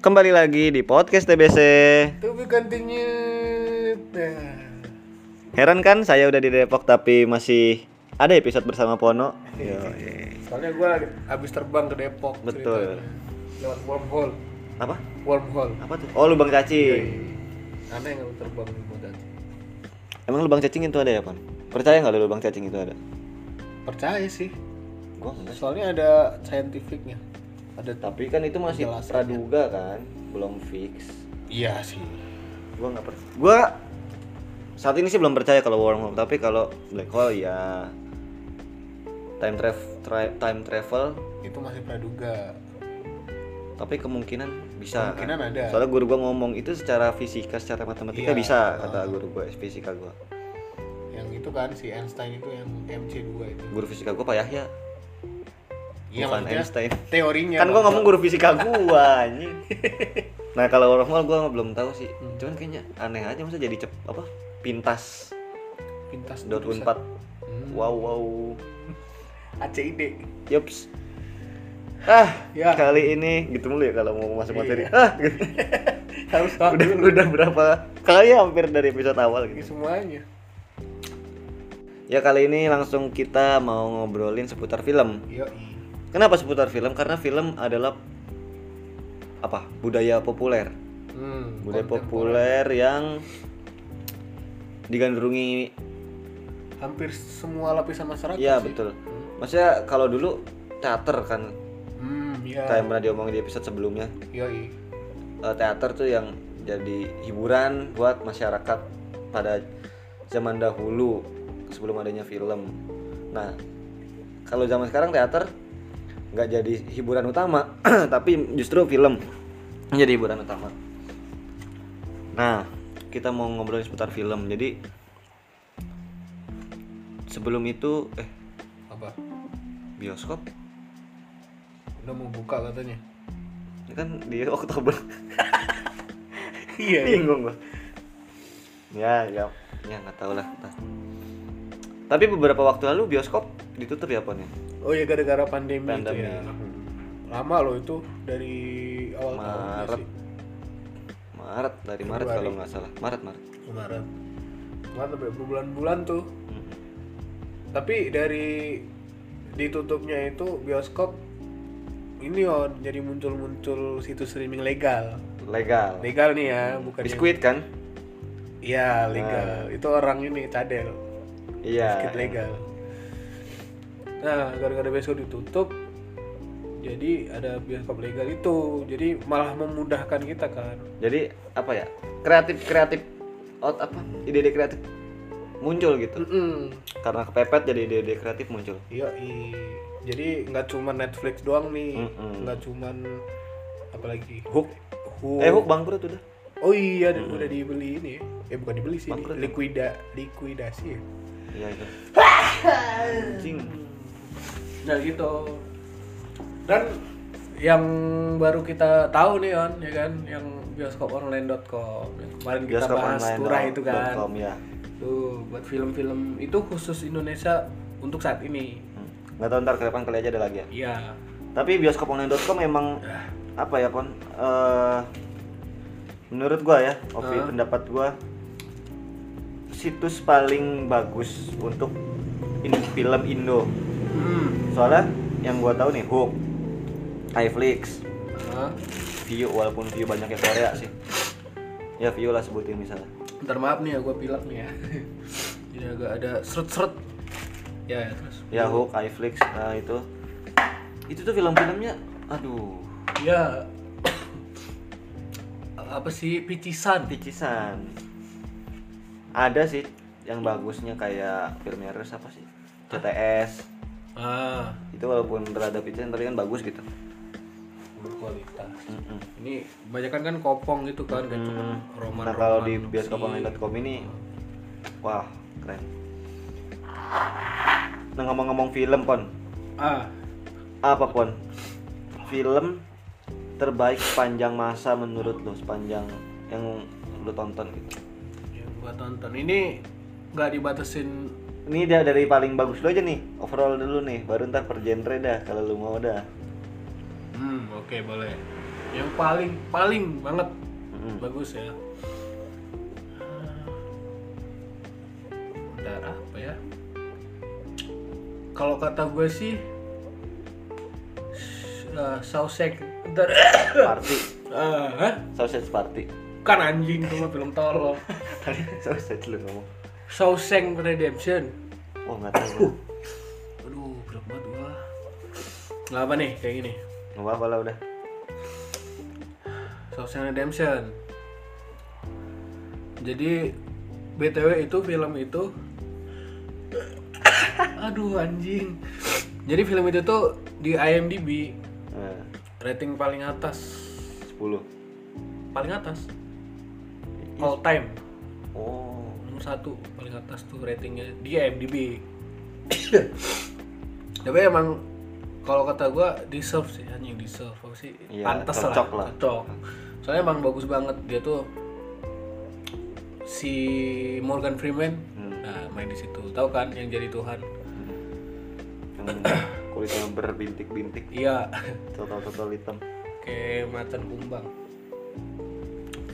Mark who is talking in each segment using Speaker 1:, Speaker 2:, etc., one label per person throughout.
Speaker 1: Kembali lagi di podcast TBC.
Speaker 2: To be continued. Nah,
Speaker 1: Heran kan saya udah di Depok tapi masih ada episode bersama Pono. Yo,
Speaker 2: Soalnya gue habis terbang ke Depok.
Speaker 1: Betul.
Speaker 2: ceritanya. Lewat wormhole.
Speaker 1: Apa?
Speaker 2: Wormhole.
Speaker 1: Apa tuh? Oh, lubang
Speaker 2: Iya,
Speaker 1: cacing.
Speaker 2: Aneh nggak lu terbang di Modan?
Speaker 1: Emang lubang cacing itu ada ya, Pon? Percaya nggak lu lubang cacing itu ada?
Speaker 2: Percaya sih.
Speaker 1: Gua enggak.
Speaker 2: Soalnya ada scientificnya. Ada
Speaker 1: Tapi
Speaker 2: tapi.
Speaker 1: kan itu masih
Speaker 2: Jelasannya.
Speaker 1: praduga kan, belum fix.
Speaker 2: Iya sih.
Speaker 1: Gua nggak percaya. Gua saat ini sih belum percaya kalau wormhole, tapi kalau black hole ya time travel time travel
Speaker 2: Itu masih praduga.
Speaker 1: tapi kemungkinan bisa
Speaker 2: Kemungkinan ada.
Speaker 1: Ah, soalnya guru gua ngomong itu secara fisika secara matematika
Speaker 2: Iya,
Speaker 1: bisa kata guru gua fisika gua
Speaker 2: Yang itu kan si Einstein itu yang MC2 itu.
Speaker 1: guru fisika gua pak Yahya
Speaker 2: Iya
Speaker 1: Bukan
Speaker 2: maksudnya
Speaker 1: Einstein.
Speaker 2: Teorinya.
Speaker 1: kan gua ngomong guru fisika gua anjing nah kalau wormhole gua belum tahu sih
Speaker 2: Hmm.
Speaker 1: cuman kayaknya aneh aja masa jadi cep apa pintas
Speaker 2: pintas
Speaker 1: dot
Speaker 2: tulisan.
Speaker 1: unpad
Speaker 2: Hmm.
Speaker 1: wow wow
Speaker 2: ACID.
Speaker 1: yups ah
Speaker 2: Ya.
Speaker 1: kali ini gitu mulu ya kalau mau masuk materi
Speaker 2: Iya.
Speaker 1: ah gitu.
Speaker 2: Harus tahu
Speaker 1: udah udah berapa kali hampir dari episode awal gitu
Speaker 2: semuanya.
Speaker 1: Ya kali ini langsung kita mau ngobrolin seputar film.
Speaker 2: Yo.
Speaker 1: Kenapa seputar film? Karena film adalah apa? Budaya populer.
Speaker 2: Hmm,
Speaker 1: Budaya
Speaker 2: konten
Speaker 1: populer yang digandrungi
Speaker 2: hampir semua lapisan masyarakat
Speaker 1: ya
Speaker 2: sih.
Speaker 1: betul. Maksudnya kalau dulu teater kan
Speaker 2: Hmm, iya.
Speaker 1: kayak yang pernah diomongin di episode sebelumnya.
Speaker 2: Yoi.
Speaker 1: Eh, teater tuh yang jadi hiburan buat masyarakat pada zaman dahulu sebelum adanya film. Nah, kalau zaman sekarang teater nggak jadi hiburan utama, tapi justru film yang jadi hiburan utama. Nah, kita mau ngobrolin seputar film. Jadi sebelum itu eh
Speaker 2: Apa?
Speaker 1: bioskop
Speaker 2: Udah mau buka katanya.
Speaker 1: ini kan di Oktober.
Speaker 2: iya.
Speaker 1: bingung gua. ya ya ya nggak tahu lah entah. tapi beberapa waktu lalu bioskop ditutup ya pon ya
Speaker 2: Oh ya gara-gara pandemi,
Speaker 1: Pandemi.
Speaker 2: itu ya. Lama loh itu dari awal tahun ya
Speaker 1: Maret.
Speaker 2: sih.
Speaker 1: Maret dari Maret
Speaker 2: Februari.
Speaker 1: kalau nggak salah Maret Maret
Speaker 2: Maret. Maret sampai berbulan-bulan tuh.
Speaker 1: Mm.
Speaker 2: Tapi dari ditutupnya itu bioskop ini oh jadi muncul-muncul situs streaming legal.
Speaker 1: legal
Speaker 2: Legal nih ya, bukan yang-
Speaker 1: biskuit kan
Speaker 2: Iya legal. Itu orang ini cadel.
Speaker 1: iya
Speaker 2: Sedikit legal. ya. Nah gara-gara besok ditutup, jadi ada bioskop legal itu. Jadi malah memudahkan kita kan.
Speaker 1: jadi apa ya kreatif kreatif out apa ide ide kreatif muncul gitu
Speaker 2: Mm-mm.
Speaker 1: karena kepepet jadi ide ide kreatif muncul
Speaker 2: Yoi. Jadi nggak cuma Netflix doang nih,
Speaker 1: Mm-mm.
Speaker 2: nggak cuman apalagi
Speaker 1: hook
Speaker 2: Hook.
Speaker 1: eh hook bangkrut udah
Speaker 2: Oh iya, dan udah dibeli ini. ya. Eh bukan dibeli sih,
Speaker 1: Bangkrut.
Speaker 2: likuida likuidasi ya.
Speaker 1: iya itu anjing
Speaker 2: Nah gitu. Dan yang baru kita tahu nih on, ya kan, yang bioskop online.com. Kemarin kita
Speaker 1: bioskop
Speaker 2: bahas
Speaker 1: online
Speaker 2: turah itu kan.
Speaker 1: .com, ya
Speaker 2: Tuh, buat film-film itu khusus Indonesia untuk saat ini.
Speaker 1: Hmm. nggak tahu ntar ke depan kali aja ada lagi ya
Speaker 2: Iya.
Speaker 1: tapi bioskoponline.com emang apa ya pon Eh, menurut gua ya opi pendapat gua situs paling bagus untuk in- film Indo
Speaker 2: Hmm.
Speaker 1: soalnya yang gua tahu nih Hook iFlix
Speaker 2: Hah?
Speaker 1: View walaupun View banyak yang Korea sih ya View lah sebutin misalnya
Speaker 2: Ntar maaf nih ya, gue pilek nih ya. Jadi agak ada seret-seret. Ya, ya terus.
Speaker 1: ya Hook iFlix nah itu itu tuh film-filmnya aduh
Speaker 2: Ya. Apa sih picisan?
Speaker 1: picisan ada sih yang bagusnya kayak filmnya Rus apa sih CTS
Speaker 2: Ah,
Speaker 1: itu walaupun rada picisan tapi kan bagus gitu
Speaker 2: berkualitas.
Speaker 1: Mm-mm.
Speaker 2: Ini kebanyakan kan kopong gitu kan, gak gitu cuma roman
Speaker 1: nah kalau di bioskop online.com ini wah keren nah ngomong-ngomong film pon
Speaker 2: Ah,
Speaker 1: apa pon film terbaik sepanjang masa menurut lo sepanjang yang lo tonton gitu
Speaker 2: yang gua tonton ini nggak dibatasin
Speaker 1: ini dia dari paling bagus lo aja nih overall dulu nih baru ntar per genre dah kalau lo mau dah
Speaker 2: Hmm, oke boleh. yang paling paling banget
Speaker 1: Mm-mm.
Speaker 2: bagus ya Bentar, apa ya kalau kata gue sih uh, sausage Bentar.
Speaker 1: Party,
Speaker 2: Ah, hah?
Speaker 1: sausage party.
Speaker 2: kan anjing cuma film tolol
Speaker 1: Tadi sausage lu ngomong.
Speaker 2: Shawshank Redemption
Speaker 1: Oh nggak tahu.
Speaker 2: aduh berat banget gua nggak apa nih kayak gini
Speaker 1: Nggak apa-apa lah udah.
Speaker 2: Shawshank Redemption jadi btw itu film itu aduh anjing jadi film itu tuh di IMDb
Speaker 1: Nah,
Speaker 2: rating paling atas
Speaker 1: sepuluh.
Speaker 2: paling atas all time
Speaker 1: Oh.
Speaker 2: nomor satu paling atas tuh ratingnya di IMDb tapi emang kalau kata gua deserve sih anjing deserve apa sih
Speaker 1: Iya,
Speaker 2: pantas
Speaker 1: cocok lah.
Speaker 2: cocok soalnya emang bagus banget dia tuh si Morgan Freeman
Speaker 1: Hmm.
Speaker 2: nah main di situ tahu kan yang jadi Tuhan
Speaker 1: Yang kulitnya berbintik-bintik,
Speaker 2: iya
Speaker 1: total-total hitam.
Speaker 2: kayak macan kumbang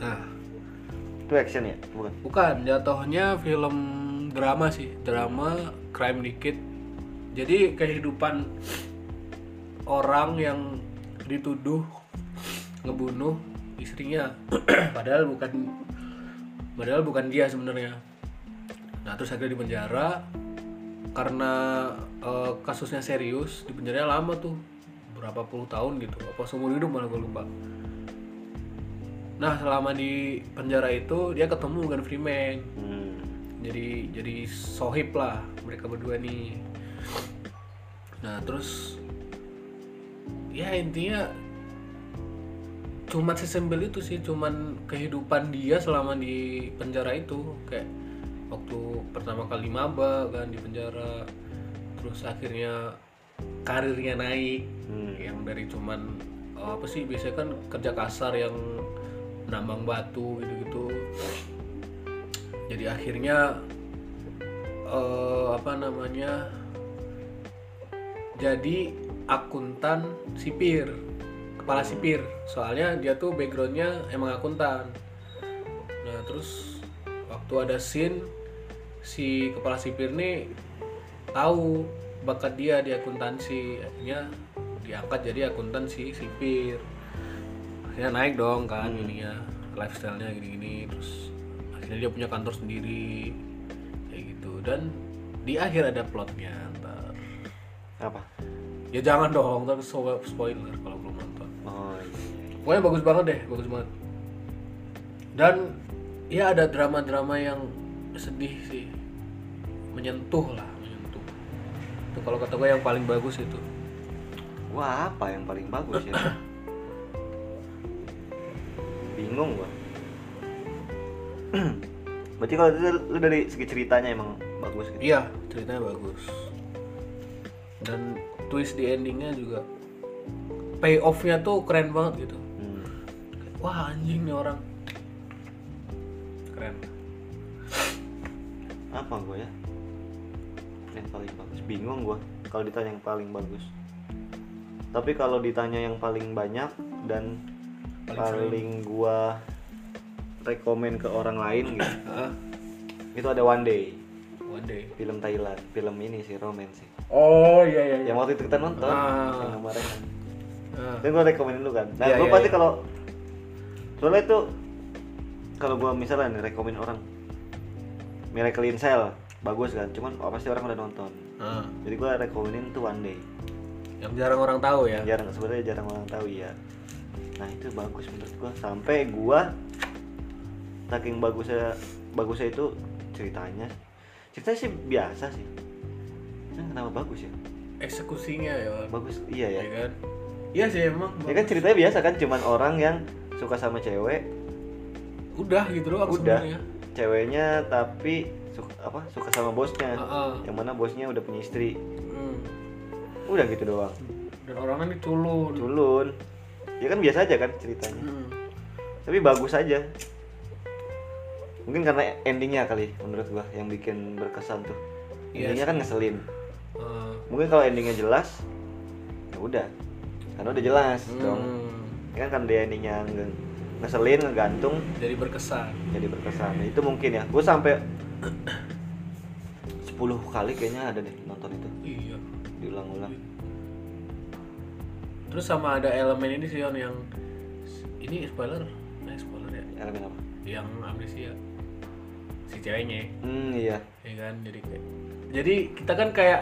Speaker 2: nah
Speaker 1: Itu action ya? Bukan.
Speaker 2: Bukan, jatuhnya film drama sih, drama crime dikit. Jadi kehidupan orang yang dituduh ngebunuh istrinya, padahal bukan, padahal bukan dia sebenarnya. Nah terus akhirnya di penjara karena eh, kasusnya serius, di penjara lama tuh berapa puluh tahun gitu, apa seumur hidup malah gue lupa. Nah selama di penjara itu dia ketemu Morgan Freeman
Speaker 1: Hmm.
Speaker 2: jadi jadi sohib lah mereka berdua nih. Nah terus ya intinya cuman sesembel itu sih cuman kehidupan dia selama di penjara itu kayak waktu pertama kali maba kan di penjara terus akhirnya karirnya naik
Speaker 1: Hmm.
Speaker 2: yang dari cuman eh, apa sih biasanya kan kerja kasar yang nambang batu gitu-gitu jadi akhirnya eh, apa namanya jadi akuntan sipir kepala sipir soalnya dia tuh backgroundnya emang akuntan nah terus waktu ada scene si kepala sipir nih tahu bakat dia di akuntansi akhirnya diangkat jadi akuntan si sipir akhirnya naik dong kan ininya lifestyle-nya gini-gini terus akhirnya dia punya kantor sendiri kayak gitu dan di akhir ada plotnya ntar
Speaker 1: Apa?
Speaker 2: ya jangan dong ntar so- spoiler kalau belum nonton
Speaker 1: Oh iya.
Speaker 2: pokoknya bagus banget deh bagus banget dan ya ada drama-drama yang sedih sih menyentuh lah menyentuh itu kalau kata gue yang paling bagus itu
Speaker 1: Wah apa yang paling bagus ya? Bingung gua. Berarti kalau itu lu dari segi ceritanya emang bagus gitu.
Speaker 2: iya ceritanya bagus dan twist di endingnya juga payoff-nya tuh keren banget gitu
Speaker 1: Hmm.
Speaker 2: wah anjing nih orang keren
Speaker 1: Apa gua ya? Yang paling bagus. Bingung gua kalau ditanya yang paling bagus. Tapi kalau ditanya yang paling banyak dan
Speaker 2: Paling
Speaker 1: paling, gua rekomen ke orang lain gitu.
Speaker 2: ah
Speaker 1: itu ada One Day,
Speaker 2: one day
Speaker 1: film Thailand, film ini sih romance sih.
Speaker 2: oh iya iya
Speaker 1: Yang waktu itu kita nonton
Speaker 2: Ah.
Speaker 1: yang kemarin.
Speaker 2: ah,
Speaker 1: Dan gue rekomenin lu kan. Nah,
Speaker 2: Iya,
Speaker 1: gue
Speaker 2: iya,
Speaker 1: pasti
Speaker 2: iya.
Speaker 1: kalau soalnya itu kalau gue misalnya nih, rekomen orang Miracle in Cell bagus kan, cuman oh, pasti orang udah nonton.
Speaker 2: ah.
Speaker 1: Jadi gue rekomenin tuh One Day.
Speaker 2: yang jarang orang tahu ya
Speaker 1: Jarang sebenarnya jarang orang tahu ya. Nah itu bagus menurut gue. Sampai gue saking bagusnya bagusnya itu ceritanya ceritanya sih biasa sih. Cuman kenapa bagus ya?
Speaker 2: eksekusinya ya Wan.
Speaker 1: Bagus iya ya.
Speaker 2: ya kan iya sih emang
Speaker 1: Ya kan ceritanya biasa kan cuman orang yang suka sama cewek,
Speaker 2: udah gitu doang
Speaker 1: Udah.
Speaker 2: sebenarnya
Speaker 1: ceweknya tapi suka apa? suka sama bosnya.
Speaker 2: Heeh.
Speaker 1: Yang mana bosnya udah punya istri.
Speaker 2: Hmm.
Speaker 1: Udah gitu doang.
Speaker 2: dan orangnya ini culun
Speaker 1: Culun. Ya kan biasa aja kan ceritanya.
Speaker 2: Hmm.
Speaker 1: Tapi bagus aja. Mungkin karena endingnya kali menurut gua yang bikin berkesan tuh.
Speaker 2: Iya
Speaker 1: Endingnya kan ngeselin.
Speaker 2: Ah.
Speaker 1: Mungkin kalau endingnya jelas ya udah. Karena udah jelas dong.
Speaker 2: Hmm.
Speaker 1: Ya kan dia ininya nge- ngeselin ngegantung
Speaker 2: jadi berkesan
Speaker 1: jadi berkesan itu mungkin ya gue sampai 10 kali kayaknya ada deh nonton itu
Speaker 2: iya
Speaker 1: diulang-ulang
Speaker 2: terus sama ada elemen ini sih Yon, yang ini spoiler nah spoiler ya
Speaker 1: elemen apa
Speaker 2: yang amnesia si ceweknya
Speaker 1: hmm iya
Speaker 2: ya kan jadi kayak jadi kita kan kayak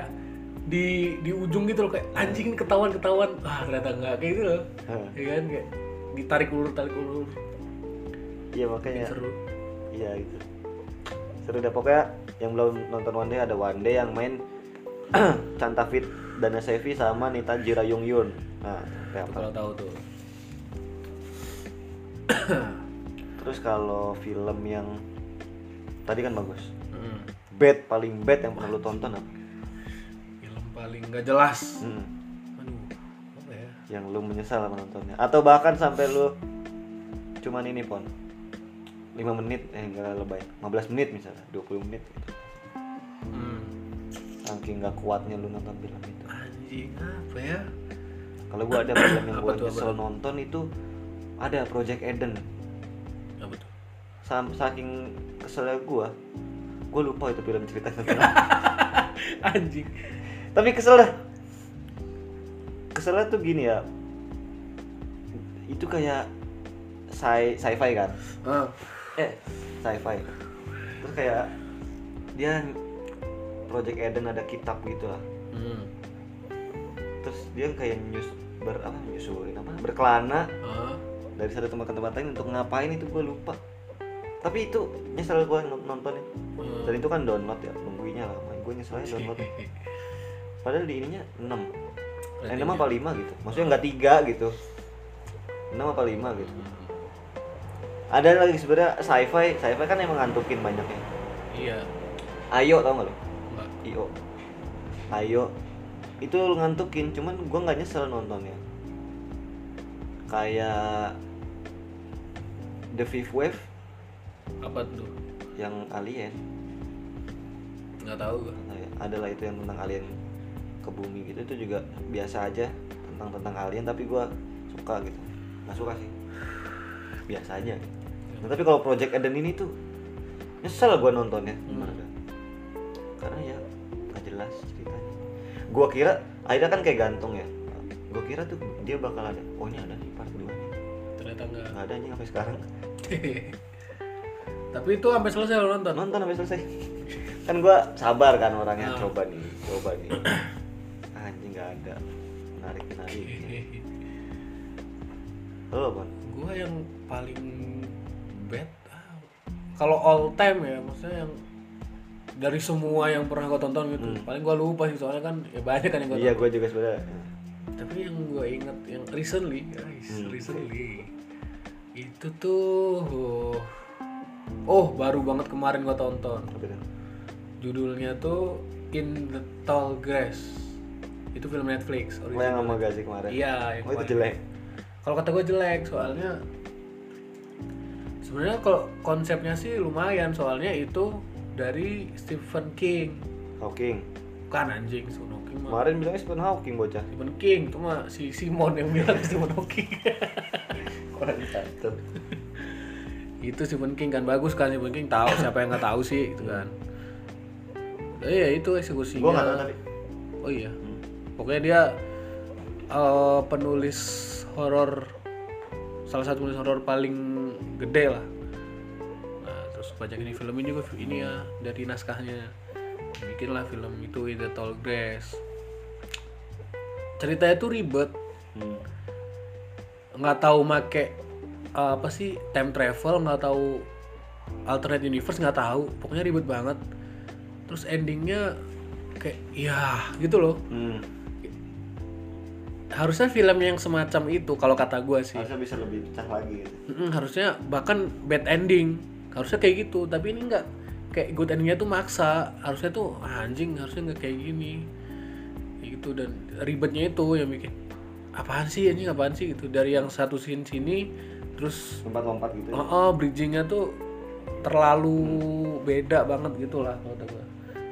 Speaker 2: di di ujung gitu loh kayak anjing ini ketahuan ketahuan ah ternyata enggak kayak gitu loh
Speaker 1: Hah.
Speaker 2: ya kan kayak ditarik ulur tarik ulur
Speaker 1: iya makanya
Speaker 2: seru
Speaker 1: iya gitu seru deh pokoknya yang belum nonton One Day ada One Day yang main Cantafit Dana Sevi sama Nita Jira Yung Yun nah kayak
Speaker 2: Tuh,
Speaker 1: apa
Speaker 2: kalau tahu tuh
Speaker 1: terus kalau film yang tadi kan bagus
Speaker 2: Mm.
Speaker 1: bad paling bad yang pernah lu tonton apa
Speaker 2: film paling nggak jelas
Speaker 1: Hmm,
Speaker 2: aduh apa ya
Speaker 1: yang lu menyesal menontonnya atau bahkan sampai lu cuman ini pon 5 menit eh enggak lebay 15 menit misalnya 20 menit gitu.
Speaker 2: Hmm.
Speaker 1: saking nggak kuatnya lu nonton film itu
Speaker 2: anjing apa ya
Speaker 1: kalau gua ada film yang
Speaker 2: Apa
Speaker 1: gua
Speaker 2: tuh, apa
Speaker 1: nyesel nonton itu ada Project Eden
Speaker 2: apa tuh
Speaker 1: Sam- saking keselnya gua gua lupa itu film cerita tentang
Speaker 2: anjing
Speaker 1: tapi kesel dah keselnya tuh gini ya itu kayak sci sci-fi kan
Speaker 2: ah
Speaker 1: eh sci-fi terus kayak dia Project Eden ada kitab gitu lah
Speaker 2: hmm.
Speaker 1: terus dia kayak nyus ber apa nyusulin apa berkelana
Speaker 2: ah
Speaker 1: dari satu tempat ke tempat lain untuk ngapain itu gue lupa tapi itu nyesel gue nontonnya
Speaker 2: Hmm.
Speaker 1: dan itu kan download ya nungguinnya lama gue nyeselnya download padahal di ininya 6 eh, 6 apa 5 gitu maksudnya nggak 3 gitu 6 apa 5 gitu
Speaker 2: Hmm.
Speaker 1: ada lagi sebenarnya sci-fi sci-fi kan emang ngantukin banyaknya
Speaker 2: iya
Speaker 1: ayo tau gak lo
Speaker 2: enggak
Speaker 1: io ayo itu lu ngantukin cuman gue nggak nyesel nontonnya kayak The Fifth Wave
Speaker 2: apa tuh
Speaker 1: yang alien
Speaker 2: nggak tahu gua
Speaker 1: Nah, ya, adalah itu yang tentang alien ke bumi gitu itu juga biasa aja tentang tentang alien tapi gua suka gitu nggak suka sih biasa aja nah, tapi kalau Project Eden ini tuh nyesel gua nontonnya
Speaker 2: Hmm.
Speaker 1: karena ya nggak jelas ceritanya gua kira akhirnya kan kayak gantung ya gua kira tuh dia bakal ada oh ini ada nih part 2 nih
Speaker 2: ternyata enggak
Speaker 1: nggak ada nih sampai sekarang
Speaker 2: tapi itu sampai selesai lo nonton
Speaker 1: nonton sampai selesai kan gua sabar kan orangnya
Speaker 2: Ah.
Speaker 1: coba nih coba nih Ah, anjing nggak ada menarik menarik Oh, lo apa
Speaker 2: gue yang paling bad ah, kalau all time ya maksudnya yang dari semua yang pernah gue tonton gitu paling gue lupa sih soalnya kan ya banyak kan yang gue
Speaker 1: iya gua juga sebenarnya
Speaker 2: tapi yang gue ingat yang recently guys recently itu tuh oh, oh, baru banget kemarin gue tonton
Speaker 1: tapi kan
Speaker 2: judulnya tuh In the Tall Grass itu film Netflix
Speaker 1: lo yang sama Gazi kemarin
Speaker 2: Iya, yang
Speaker 1: oh itu
Speaker 2: paling-
Speaker 1: jelek
Speaker 2: Kalau kata gue jelek, soalnya sebenarnya kalau konsepnya sih lumayan, soalnya itu dari Stephen King,
Speaker 1: Hawking
Speaker 2: bukan anjing Stephen King mah.
Speaker 1: kemarin bilangnya Stephen Hawking bocah
Speaker 2: Stephen King itu mah si Simon yang bilang Stephen King.
Speaker 1: orang satu
Speaker 2: itu Stephen King kan bagus kan Stephen King tahu siapa yang nggak tahu sih itu kan. Eh ya itu eksekusinya.
Speaker 1: gua nggak tahu tapi
Speaker 2: Oh iya. Pokoknya dia eh, penulis horor salah satu penulis horor paling gede lah. Nah, terus banyak ini film ini juga ini ya dari naskahnya. Bikinlah film itu In the Tall Grass. Ceritanya tuh ribet,
Speaker 1: hmm.
Speaker 2: nggak tahu make eh, apa sih time travel, nggak tahu alternate universe nggak tahu. Pokoknya ribet banget. Terus endingnya kayak ya gitu loh
Speaker 1: hmm.
Speaker 2: harusnya film yang semacam itu kalau kata gue sih
Speaker 1: harusnya bisa lebih pecah lagi gitu
Speaker 2: Mm-mm, harusnya bahkan bad ending harusnya kayak gitu tapi ini nggak kayak good endingnya tuh maksa harusnya tuh "Ah, anjing harusnya nggak kayak gini Kayak gitu dan ribetnya itu yang bikin apaan sih anjing apaan sih gitu dari yang satu scene sini terus
Speaker 1: lompat-lompat gitu
Speaker 2: oh, oh, bridgingnya tuh terlalu beda banget gitulah kalau kata gue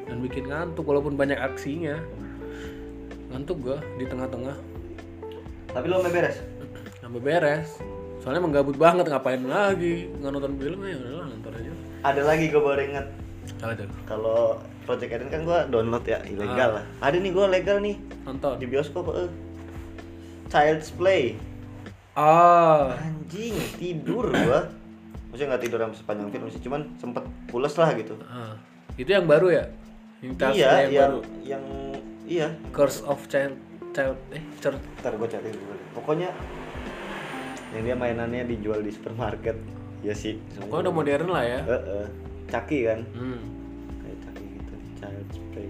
Speaker 2: dan bikin ngantuk walaupun banyak aksinya ngantuk gue di tengah-tengah
Speaker 1: tapi lo sampai beres
Speaker 2: sampai beres soalnya emang gabut banget ngapain lagi nggak nonton film ya udahlah nonton aja
Speaker 1: Ada lagi gue baru inget
Speaker 2: apa tuh
Speaker 1: kalau Project Eden kan gue download ya
Speaker 2: Ah.
Speaker 1: ilegal lah. Ada nih gue legal nih
Speaker 2: nonton
Speaker 1: di bioskop. eh. Child's Play.
Speaker 2: ah
Speaker 1: Anjing tidur gua. Maksudnya nggak tidur sampai sepanjang film sih, cuman sempet pules lah gitu.
Speaker 2: ah. itu yang baru ya yang tas
Speaker 1: iya,
Speaker 2: yang
Speaker 1: yang
Speaker 2: baru
Speaker 1: yang iya.
Speaker 2: Curse of Child Child eh Child
Speaker 1: Ntar gue cari dulu. Pokoknya yang dia mainannya dijual di supermarket. Ya sih.
Speaker 2: pokoknya udah modern lah ya
Speaker 1: Heeh. Caki kan?
Speaker 2: hmm.
Speaker 1: Kayak caki gitu nih, Child's Play.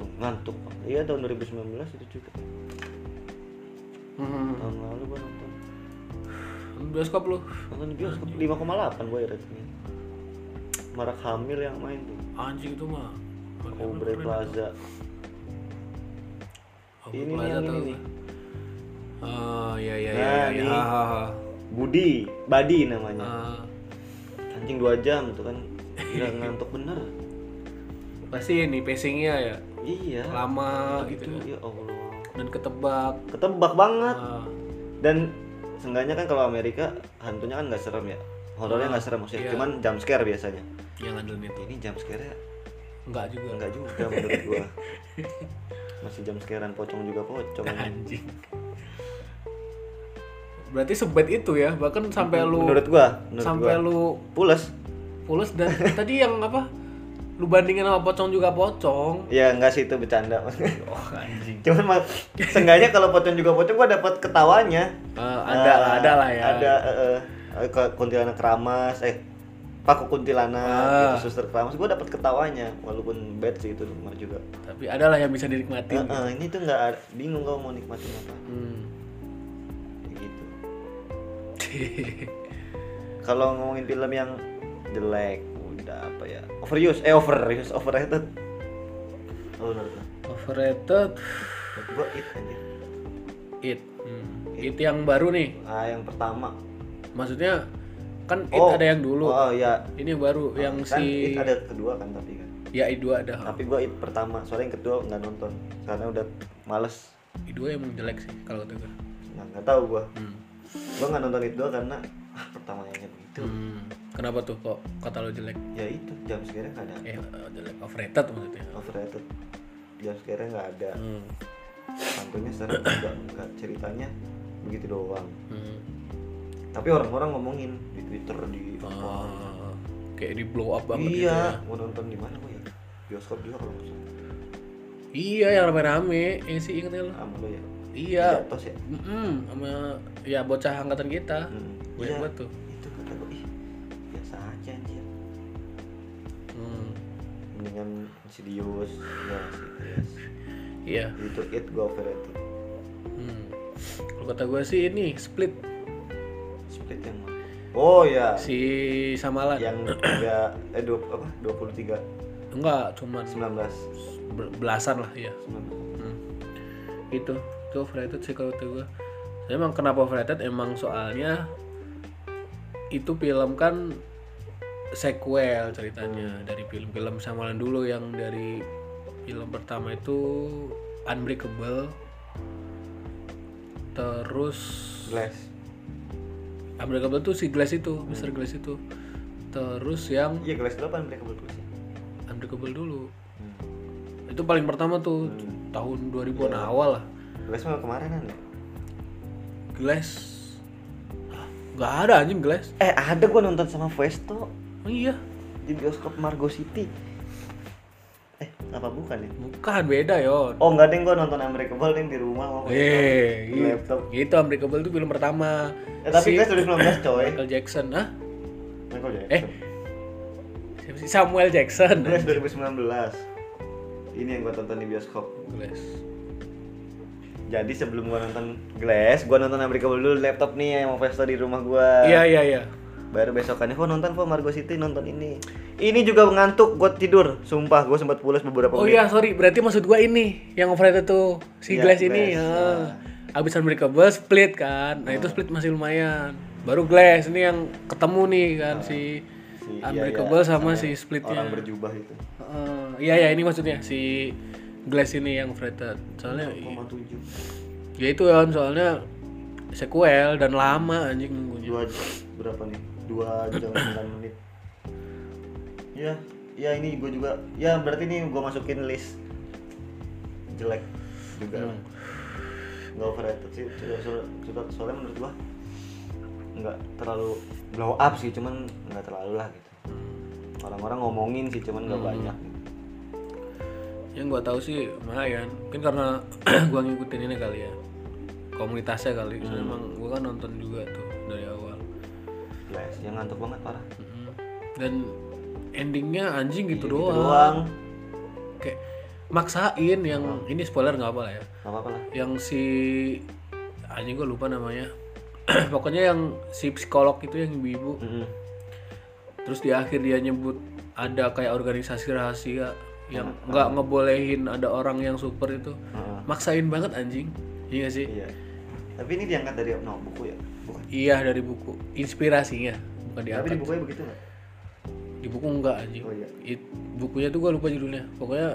Speaker 1: Tuh ngantuk. Pak. Iya tahun 2019 itu juga.
Speaker 2: Hmm.
Speaker 1: Tahun lalu gua nonton.
Speaker 2: bioskop lu
Speaker 1: Nonton di bioskop 5,8 gua ya ratingnya. Marak Hamil yang main tuh.
Speaker 2: anjing itu mah
Speaker 1: Aubrey Plaza. Ini nih, yang ini nih.
Speaker 2: Oh iya iya iya
Speaker 1: Nah,
Speaker 2: iya.
Speaker 1: ini.
Speaker 2: Ah, ah, ah.
Speaker 1: Budi, Badi namanya.
Speaker 2: Ah,
Speaker 1: Anjing dua jam tuh kan udah ngantuk bener.
Speaker 2: pasti ini pacingnya ya
Speaker 1: Iya.
Speaker 2: lama gitu
Speaker 1: Itu ya Allah.
Speaker 2: dan ketebak.
Speaker 1: Ketebak banget.
Speaker 2: Ah,
Speaker 1: Dan seenggaknya kan kalau Amerika hantunya kan nggak serem ya. Horornya nggak serem maksudnya.
Speaker 2: Iya.
Speaker 1: Cuman jump scare biasanya.
Speaker 2: yang ngandelin itu
Speaker 1: Ini jump scare-nya
Speaker 2: enggak juga
Speaker 1: enggak juga menurut gua. Masih jump scare-an pocong juga pocong.
Speaker 2: anjing. Berarti sebet itu ya bahkan sampai lu
Speaker 1: Menurut gua, menurut
Speaker 2: sampai
Speaker 1: gua.
Speaker 2: lu
Speaker 1: Pules.
Speaker 2: pulas dan tadi yang apa lu bandingin sama pocong juga pocong.
Speaker 1: Ya enggak sih itu bercanda.
Speaker 2: Oh anjing.
Speaker 1: Cuman mak- seenggaknya kalau pocong juga pocong gua dapat ketawanya.
Speaker 2: Ah, ada lah,
Speaker 1: Ah,
Speaker 2: ada lah ya.
Speaker 1: Ada eh, eh, ke- kuntilanak keramas, eh paku kuntilanak,
Speaker 2: Ah.
Speaker 1: gitu, suster keramas. Gue dapat ketawanya, walaupun bad sih itu cuma juga.
Speaker 2: Tapi ada lah yang bisa dinikmati.
Speaker 1: Eh, eh, ini tuh nggak ada- bingung kau mau nikmatin apa,
Speaker 2: Hmm.
Speaker 1: Kayak gitu. Kalau ngomongin film yang jelek, udah apa ya? Overuse, eh overuse, overrated. Oh, menurut lo?
Speaker 2: Overrated
Speaker 1: Menurut gua it aja.
Speaker 2: it. It yang baru nih.
Speaker 1: Ah, yang pertama.
Speaker 2: Maksudnya kan it
Speaker 1: Oh.
Speaker 2: ada yang dulu.
Speaker 1: Oh ya,
Speaker 2: Ini yang baru yang
Speaker 1: kan
Speaker 2: si
Speaker 1: it ada kedua kan tapi kan.
Speaker 2: ya I2 ada.
Speaker 1: Tapi gua it pertama, soalnya yang kedua nggak nonton karena udah males.
Speaker 2: I2 emang jelek sih kalau kata gue.
Speaker 1: Nah, nggak tahu gua.
Speaker 2: Hmm.
Speaker 1: Gua nggak nonton itu karena ah, pertamanya begitu.
Speaker 2: Hmm. Kenapa tuh kok kata lo jelek?
Speaker 1: Ya itu jam sekarang nggak ada
Speaker 2: Eh jelek overrated maksudnya.
Speaker 1: overrated. Jam sekarang nggak ada.
Speaker 2: Hmm.
Speaker 1: Hantunya sekarang juga nggak ceritanya begitu doang.
Speaker 2: Hmm.
Speaker 1: Tapi orang-orang ngomongin di Twitter di apa.
Speaker 2: Ah, kayak di blow up banget gitu ya.
Speaker 1: Iya, mau nonton di mana gua ya? Bioskop juga kalau nggak salah.
Speaker 2: Iya yang rame-rame, yang sih ingetnya lo.
Speaker 1: Sama lo ya.
Speaker 2: Iya.
Speaker 1: Jatos ya.
Speaker 2: Mm-mm, sama ya bocah angkatan kita.
Speaker 1: Hmm.
Speaker 2: Banyak
Speaker 1: Iya,
Speaker 2: banget tuh.
Speaker 1: Itu kata gua ih biasa aja anjir.
Speaker 2: Hmm.
Speaker 1: Mendingan Insidious, ya Insidious.
Speaker 2: Iya.
Speaker 1: Itu it gua overrated.
Speaker 2: Hmm. Kalau kata gue sih ini split
Speaker 1: Split yang mana? Oh ya.
Speaker 2: si Samalan.
Speaker 1: yang tiga eh dua apa dua puluh tiga
Speaker 2: Enggak, cuman
Speaker 1: sembilan belas
Speaker 2: ber- belasan lah ya. Hmm. Gitu. Itu overrated sih kalau kata gue. Emang kenapa overrated? Emang soalnya itu film kan sequel ceritanya dari film-film Samalan dulu yang dari film pertama itu Unbreakable terus
Speaker 1: belas
Speaker 2: Unbreakable tuh si Glass itu, Mr. Glass itu. Terus yang
Speaker 1: iya kelas delapan mereka Hmm. berkelas ya
Speaker 2: Unbreakable dulu. Itu paling pertama tuh tahun 2000-an awal lah.
Speaker 1: kelas mah kemaranan ya
Speaker 2: Glass. Hah, Nggak ada anjing Glass.
Speaker 1: eh ada gua nonton sama Festo
Speaker 2: Oh, iya,
Speaker 1: di bioskop Margo City eh apa bukan ya
Speaker 2: bukan beda yon.
Speaker 1: oh nggak deh gua nonton Unbreakable deh di rumah mau
Speaker 2: Eh,
Speaker 1: di Oh, iya. laptop
Speaker 2: gitu Unbreakable tuh film pertama.
Speaker 1: eh tapi
Speaker 2: Si
Speaker 1: kelas dua sembilan belas coy
Speaker 2: Michael Jackson, ah?
Speaker 1: Michael Jackson
Speaker 2: Eh. Siapa sih? Samuel Jackson.
Speaker 1: kelas dua ribu sembilan belas ini yang gua tonton di bioskop
Speaker 2: Glass.
Speaker 1: jadi sebelum gua nonton Glass, gua nonton Unbreakable dulu di laptop nih yang mau Festo di rumah gua.
Speaker 2: Iya, iya, iya.
Speaker 1: baru besokannya kok nonton kok Margo City nonton ini ini juga ngantuk gue tidur sumpah gue sempat pulas beberapa
Speaker 2: Oh
Speaker 1: menit
Speaker 2: iya, sorry. Berarti maksud gua ini yang overrated tuh si
Speaker 1: Iya,
Speaker 2: Glass ini.
Speaker 1: Glass, Ah.
Speaker 2: Ya.
Speaker 1: nah.
Speaker 2: Abis Unbreakable split kan. Nah, itu split masih lumayan. Baru Glass ini yang ketemu nih kan si
Speaker 1: Ah. Si- iya,
Speaker 2: Unbreakable
Speaker 1: iya,
Speaker 2: sama,
Speaker 1: sama
Speaker 2: si splitnya.
Speaker 1: orang berjubah itu
Speaker 2: Heeh. iya, iya ini maksudnya si Oh, iya. Glass ini yang overrated. Soalnya
Speaker 1: 0,7
Speaker 2: ya itu ya kan, soalnya sequel dan lama anjing nunggunya
Speaker 1: dua berapa nih dua jam sembilan menit ya ya ini gue juga ya berarti ini gue masukin list jelek juga
Speaker 2: Hmm.
Speaker 1: nggak overrated sih so- so- so- soalnya menurut gue nggak terlalu blow up sih cuman nggak terlalu lah gitu orang-orang ngomongin sih cuman
Speaker 2: Hmm.
Speaker 1: nggak banyak gitu.
Speaker 2: yang gua tahu sih lumayan mungkin karena gua ngikutin ini kali ya komunitasnya kali Soalnya emang gua kan nonton juga tuh dari awal
Speaker 1: Flash ya, yang ngantuk banget parah
Speaker 2: Mm-mm. dan endingnya anjing Hmm. gitu
Speaker 1: Gitu
Speaker 2: doang
Speaker 1: doang
Speaker 2: kayak maksain yang ini spoiler nggak apa lah ya
Speaker 1: nggak apa-apa lah
Speaker 2: yang si anjing gua lupa namanya pokoknya yang si psikolog itu yang ibu-ibu
Speaker 1: Mm-mm.
Speaker 2: terus di akhir dia nyebut ada kayak organisasi rahasia yang nggak ngebolehin ada orang yang super itu
Speaker 1: Heeh.
Speaker 2: maksain banget anjing iya nggak sih
Speaker 1: iya tapi ini diangkat dari no buku ya bukan
Speaker 2: iya dari buku inspirasinya bukan
Speaker 1: tapi
Speaker 2: diangkat
Speaker 1: di bukunya begitu nggak
Speaker 2: di buku enggak anjing
Speaker 1: Oh, iya.
Speaker 2: It- bukunya tuh gue lupa judulnya pokoknya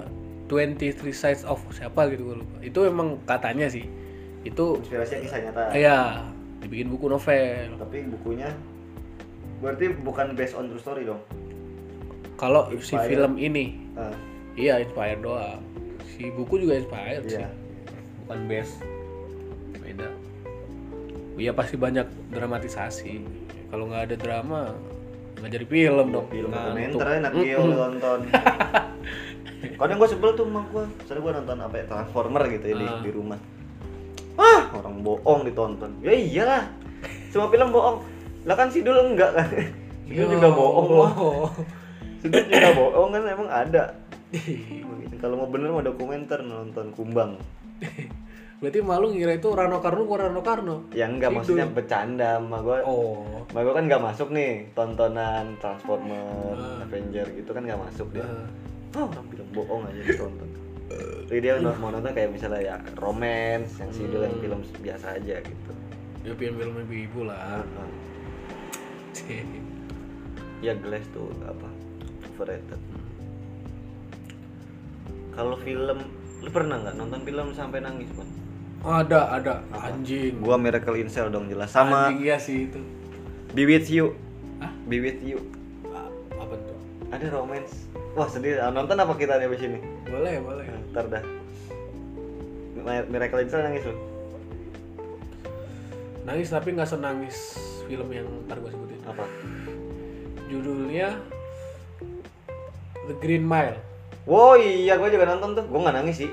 Speaker 2: 23 sides of siapa gitu gue lupa itu emang katanya sih itu
Speaker 1: inspirasinya kisah nyata
Speaker 2: ya dibikin buku novel
Speaker 1: tapi bukunya berarti bukan based on true story dong
Speaker 2: kalau si
Speaker 1: Inspired.
Speaker 2: film ini
Speaker 1: Ah,
Speaker 2: iya inspired doang si buku juga inspired sih
Speaker 1: iya
Speaker 2: bukan best beda iya pasti banyak dramatisasi kalau nggak ada drama nggak jadi film dong Nah.
Speaker 1: film
Speaker 2: Ngantuk.
Speaker 1: dokumenter enak Geo lu nonton kadang gue sebel tuh emang gue soalnya gue nonton apa ya Transformer gitu ya di,
Speaker 2: Ah.
Speaker 1: di rumah ah orang bohong ditonton ya iyalah semua film bohong lah kan Sidul enggak kan Sidul juga
Speaker 2: Ya
Speaker 1: bohong loh
Speaker 2: Allah.
Speaker 1: Sidul juga bohong kan emang ada kalau mau bener mau dokumenter nonton Kumbang
Speaker 2: berarti malu ngira itu Rano Karno bukan Rano Karno
Speaker 1: ya enggak
Speaker 2: Sidul.
Speaker 1: maksudnya bercanda sama gue
Speaker 2: oh
Speaker 1: Mbak gue kan nggak masuk nih tontonan Transformer,
Speaker 2: Ah.
Speaker 1: Avenger gitu kan nggak masuk dia.
Speaker 2: Ah.
Speaker 1: Oh, orang bilang bohong aja ditonton. Jadi dia no- mau nonton kayak misalnya ya romance yang sidul yang
Speaker 2: Hmm.
Speaker 1: film biasa aja gitu.
Speaker 2: ya film ibu lah
Speaker 1: Nah, ya Glass tuh apa overrated. Kalau film lu pernah nggak nonton film sampai nangis pun?
Speaker 2: Oh, ada ada anjing
Speaker 1: Gua Miracle in Cell dong jelas sama
Speaker 2: anjing iya sih itu
Speaker 1: Be With You.
Speaker 2: Hah?
Speaker 1: Be With You.
Speaker 2: A- apa tuh
Speaker 1: Ada romance. Wah sedih. Nonton apa kita nih abis ini?
Speaker 2: boleh boleh
Speaker 1: Nah, Ntar dah. Mi- Miracle in Cell nangis lu.
Speaker 2: nangis tapi nggak senangis film yang ntar gue sebutin
Speaker 1: Apa?
Speaker 2: judulnya The Green Mile
Speaker 1: Wow iya gue juga nonton tuh. Gue nggak nangis sih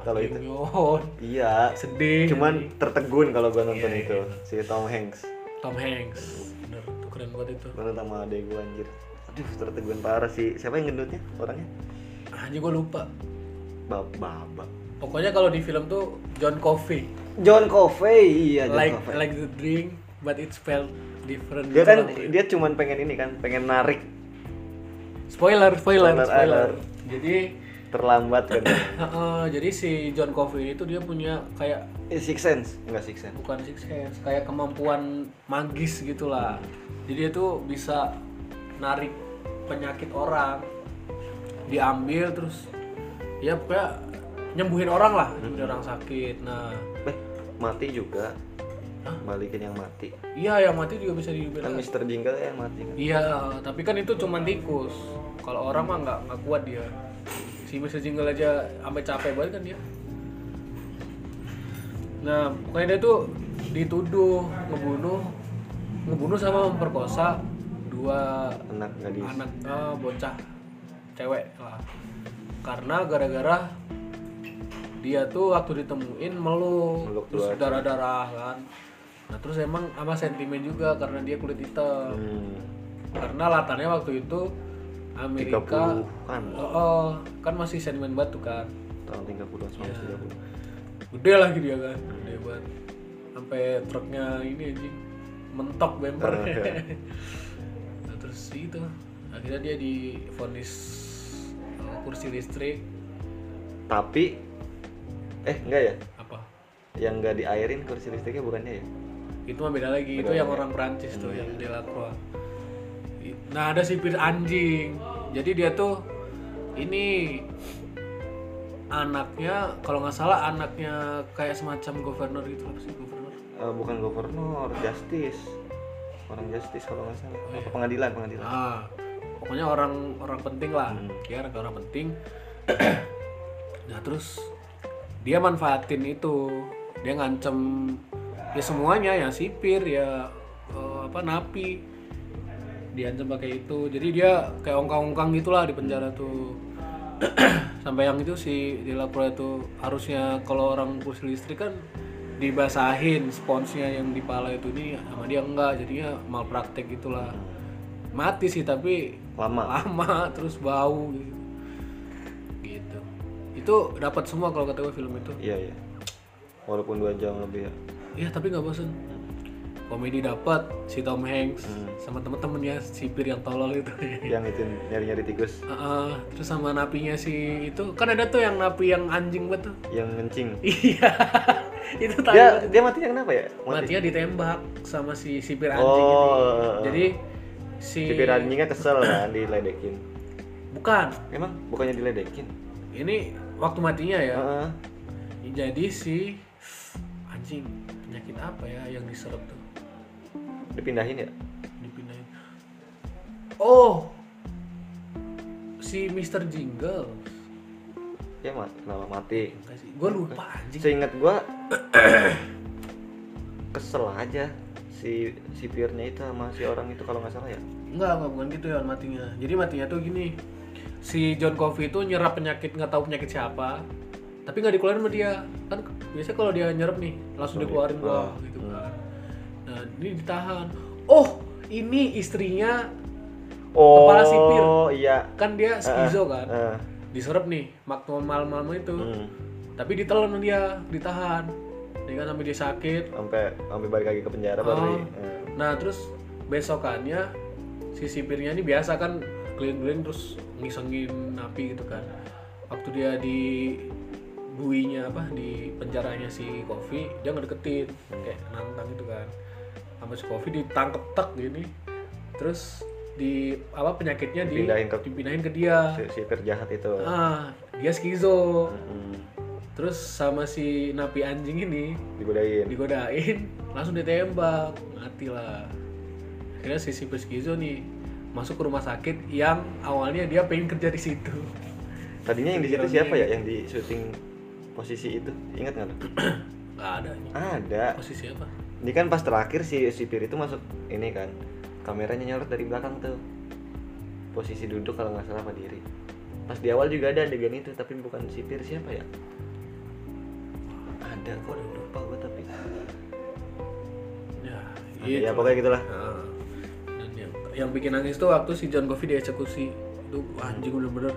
Speaker 1: kalau itu.
Speaker 2: Yon.
Speaker 1: Iya.
Speaker 2: sedih
Speaker 1: Cuman tertegun kalau gue nonton
Speaker 2: Iya,
Speaker 1: itu si Tom Hanks.
Speaker 2: Tom Hanks bener tuh keren banget itu
Speaker 1: Gue nonton sama adek gue anjir. Aduh tertegun parah sih. Siapa yang gendutnya orangnya?
Speaker 2: anjing gue Ah, lupa
Speaker 1: Bab Baba.
Speaker 2: pokoknya kalau di film tuh John Coffey
Speaker 1: John Coffey iya John
Speaker 2: like
Speaker 1: Coffey.
Speaker 2: like the drink but it's spelled different
Speaker 1: Dia
Speaker 2: gitu
Speaker 1: kan
Speaker 2: lah pokoknya.
Speaker 1: dia cuman pengen ini kan, pengen narik
Speaker 2: spoiler spoiler
Speaker 1: Spoiler
Speaker 2: spoiler,
Speaker 1: alert.
Speaker 2: jadi
Speaker 1: terlambat kan.
Speaker 2: eh, jadi si John Coffey itu dia punya kayak
Speaker 1: Eh, Six Sense, enggak Six Sense.
Speaker 2: bukan six sense kayak kemampuan magis gitulah jadi dia tuh bisa narik penyakit orang diambil terus ya pokoknya nyembuhin orang lah nyembuhin orang sakit nah
Speaker 1: Eh, mati juga. Balikin yang mati.
Speaker 2: iya yang mati juga bisa
Speaker 1: Kan
Speaker 2: dihidupin lagi.
Speaker 1: Mr. Jingle yang mati kan.
Speaker 2: iya tapi kan itu cuman tikus kalau orang mah nggak nggak kuat dia si Mr. Jingle aja sampai capek banget kan dia Nah, pokoknya dia tuh dituduh ngebunuh, ngebunuh sama memperkosa dua
Speaker 1: anak gadis
Speaker 2: anak eh, bocah cewek lah. Karena gara-gara dia tuh waktu ditemuin meluk,
Speaker 1: Meluk
Speaker 2: terus
Speaker 1: dua.
Speaker 2: darah-darah kan. Nah, terus emang sama sentimen juga karena dia kulit hitam.
Speaker 1: hmm,
Speaker 2: Karena latarnya waktu itu Amerika
Speaker 1: 30-an.
Speaker 2: Oh, oh, kan masih sentimen batu kan.
Speaker 1: tahun 30
Speaker 2: Iya.
Speaker 1: 1930
Speaker 2: gede lagi dia kan gede banget sampai truknya ini anjing mentok bumper
Speaker 1: Ah, iya.
Speaker 2: nah, terus itu akhirnya dia divonis eh, kursi listrik
Speaker 1: tapi eh enggak ya
Speaker 2: apa
Speaker 1: yang enggak diairin kursi listriknya bukannya ya
Speaker 2: itu mah beda lagi ya. Hmm. itu yang orang Perancis tuh yang Delacroix nah ada sipir anjing jadi dia tuh ini anaknya kalau nggak salah anaknya kayak semacam gubernur gitu apa sih gubernur
Speaker 1: Eh, bukan gubernur justice orang justice kalau nggak salah
Speaker 2: iya.
Speaker 1: Apa pengadilan pengadilan
Speaker 2: Nah, pokoknya orang orang penting lah,
Speaker 1: Hmm.
Speaker 2: dia orang orang penting. nah terus dia manfaatin itu, dia ngancem ya semuanya, ya sipir, ya eh, apa napi, diancam pakai itu. Jadi dia kayak ongkang-ongkang gitulah di penjara tuh. Sampai yang itu si di Lapura itu harusnya kalau orang kursi listrik kan dibasahin sponsnya yang di pala itu ini sama dia enggak jadinya malpraktek gitulah mati sih tapi
Speaker 1: lama
Speaker 2: lama terus bau gitu gitu itu dapat semua kalau kata gue film itu
Speaker 1: iya iya walaupun dua jam lebih ya
Speaker 2: ya tapi nggak bosen komedi dapat si Tom Hanks sama temen-temennya sipir yang tolol itu
Speaker 1: yang itu nyari nyari tikus
Speaker 2: Heeh, terus sama napinya si itu kan ada tuh yang napi yang anjing banget tuh
Speaker 1: yang ngencing
Speaker 2: iya itu tadi
Speaker 1: dia dia matinya kenapa ya mati
Speaker 2: matinya ditembak sama si sipir anjing itu
Speaker 1: oh
Speaker 2: jadi si
Speaker 1: sipir anjingnya kesel kan diledekin
Speaker 2: bukan
Speaker 1: emang bukannya diledekin
Speaker 2: ini waktu matinya ya
Speaker 1: Heeh.
Speaker 2: Jadi si anjing penyakit apa ya yang diserap tuh
Speaker 1: dipindahin ya
Speaker 2: dipindahin. Oh, si Mr. Jingle.
Speaker 1: ya mat kenapa mati
Speaker 2: Gue lupa anjing.
Speaker 1: seingat gua kesel aja si sipirnya itu sama si orang itu kalau nggak salah ya
Speaker 2: Enggak, enggak bukan gitu ya matinya. Jadi matinya tuh gini. Si John Coffey itu nyerap penyakit nggak tahu penyakit siapa. Tapi nggak dikeluarin sama dia. Kan biasanya kalau dia nyerap nih langsung dikeluarin gua gitu kan. Nah, ini ditahan. Oh, ini istrinya
Speaker 1: oh
Speaker 2: Kepala sipir.
Speaker 1: iya
Speaker 2: kan dia skizo kan.
Speaker 1: Eh,
Speaker 2: diserap nih maknum malam-malam itu
Speaker 1: hmm.
Speaker 2: tapi ditelan sama dia ditahan ya kan sampai dia sakit
Speaker 1: sampai sampai balik lagi ke penjara baru
Speaker 2: Oh.
Speaker 1: di- eh.
Speaker 2: nah terus besokannya si sipirnya ini biasa kan keliling-keliling terus ngisengin napi gitu kan waktu dia di buinya apa di penjaranya si Kofi dia ngedeketin kayak nantang gitu kan sama si Kofi ditangkep tek gini terus di apa penyakitnya di,
Speaker 1: Dipindahin ke-
Speaker 2: dipindahin ke dia
Speaker 1: si sipir jahat itu
Speaker 2: ah dia skizo
Speaker 1: Hmm.
Speaker 2: Terus sama si napi anjing ini
Speaker 1: digodain
Speaker 2: digodain, langsung ditembak, mati lah. Akhirnya si sipir skizo nih masuk ke rumah sakit yang awalnya dia pengen kerja di situ.
Speaker 1: tadinya yang di situ siapa ya yang di syuting posisi itu ingat nggak lu?
Speaker 2: Gak ada nih.
Speaker 1: ada
Speaker 2: Posisi apa?
Speaker 1: ini kan pas terakhir si sipir itu masuk ini kan kameranya nyorot dari belakang tuh posisi duduk kalau nggak salah apa diri pas di awal juga ada adegan itu tapi bukan sipir siapa ya ada kok udah lupa gue tapi
Speaker 2: Ya, gitu.
Speaker 1: ya pokoknya gitulah
Speaker 2: Nah, dan yang, yang bikin nangis tuh waktu si John Coffey dieksekusi. Itu anjing bener-bener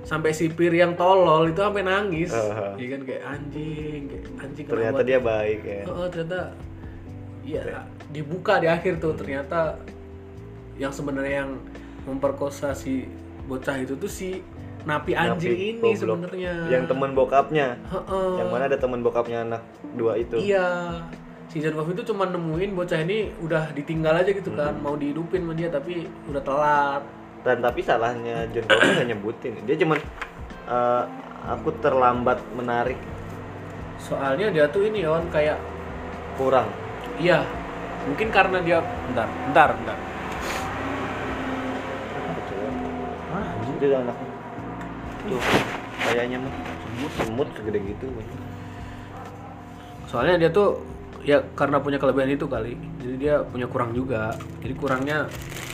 Speaker 2: sampai sipir yang tolol itu sampai nangis.
Speaker 1: Aha.
Speaker 2: Iya kan kayak anjing, kayak anjing kenapa
Speaker 1: ternyata dia baik ya
Speaker 2: Oh, oh, ternyata iya dibuka di akhir tuh ternyata yang sebenarnya yang memperkosa si bocah itu tuh si napi
Speaker 1: Tapi
Speaker 2: anjing ini
Speaker 1: goblok. Iya,
Speaker 2: sebenarnya.
Speaker 1: yang teman bokapnya
Speaker 2: Heeh.
Speaker 1: yang mana ada teman bokapnya anak dua itu
Speaker 2: Iya. Si John Coffey itu cuma nemuin bocah ini udah ditinggal aja gitu kan, mau dihidupin sama dia tapi udah telat.
Speaker 1: dan tapi salahnya John Cobra nggak nyebutin dia cuman eh, aku terlambat menarik
Speaker 2: Soalnya dia tuh ini on kayak
Speaker 1: kurang
Speaker 2: iya, mungkin karena dia bentar, bentar, bentar.
Speaker 1: itu udah anaknya tuh kayaknya mah semut semut segede gitu
Speaker 2: soalnya dia tuh ya karena punya kelebihan itu kali jadi dia punya kurang juga jadi kurangnya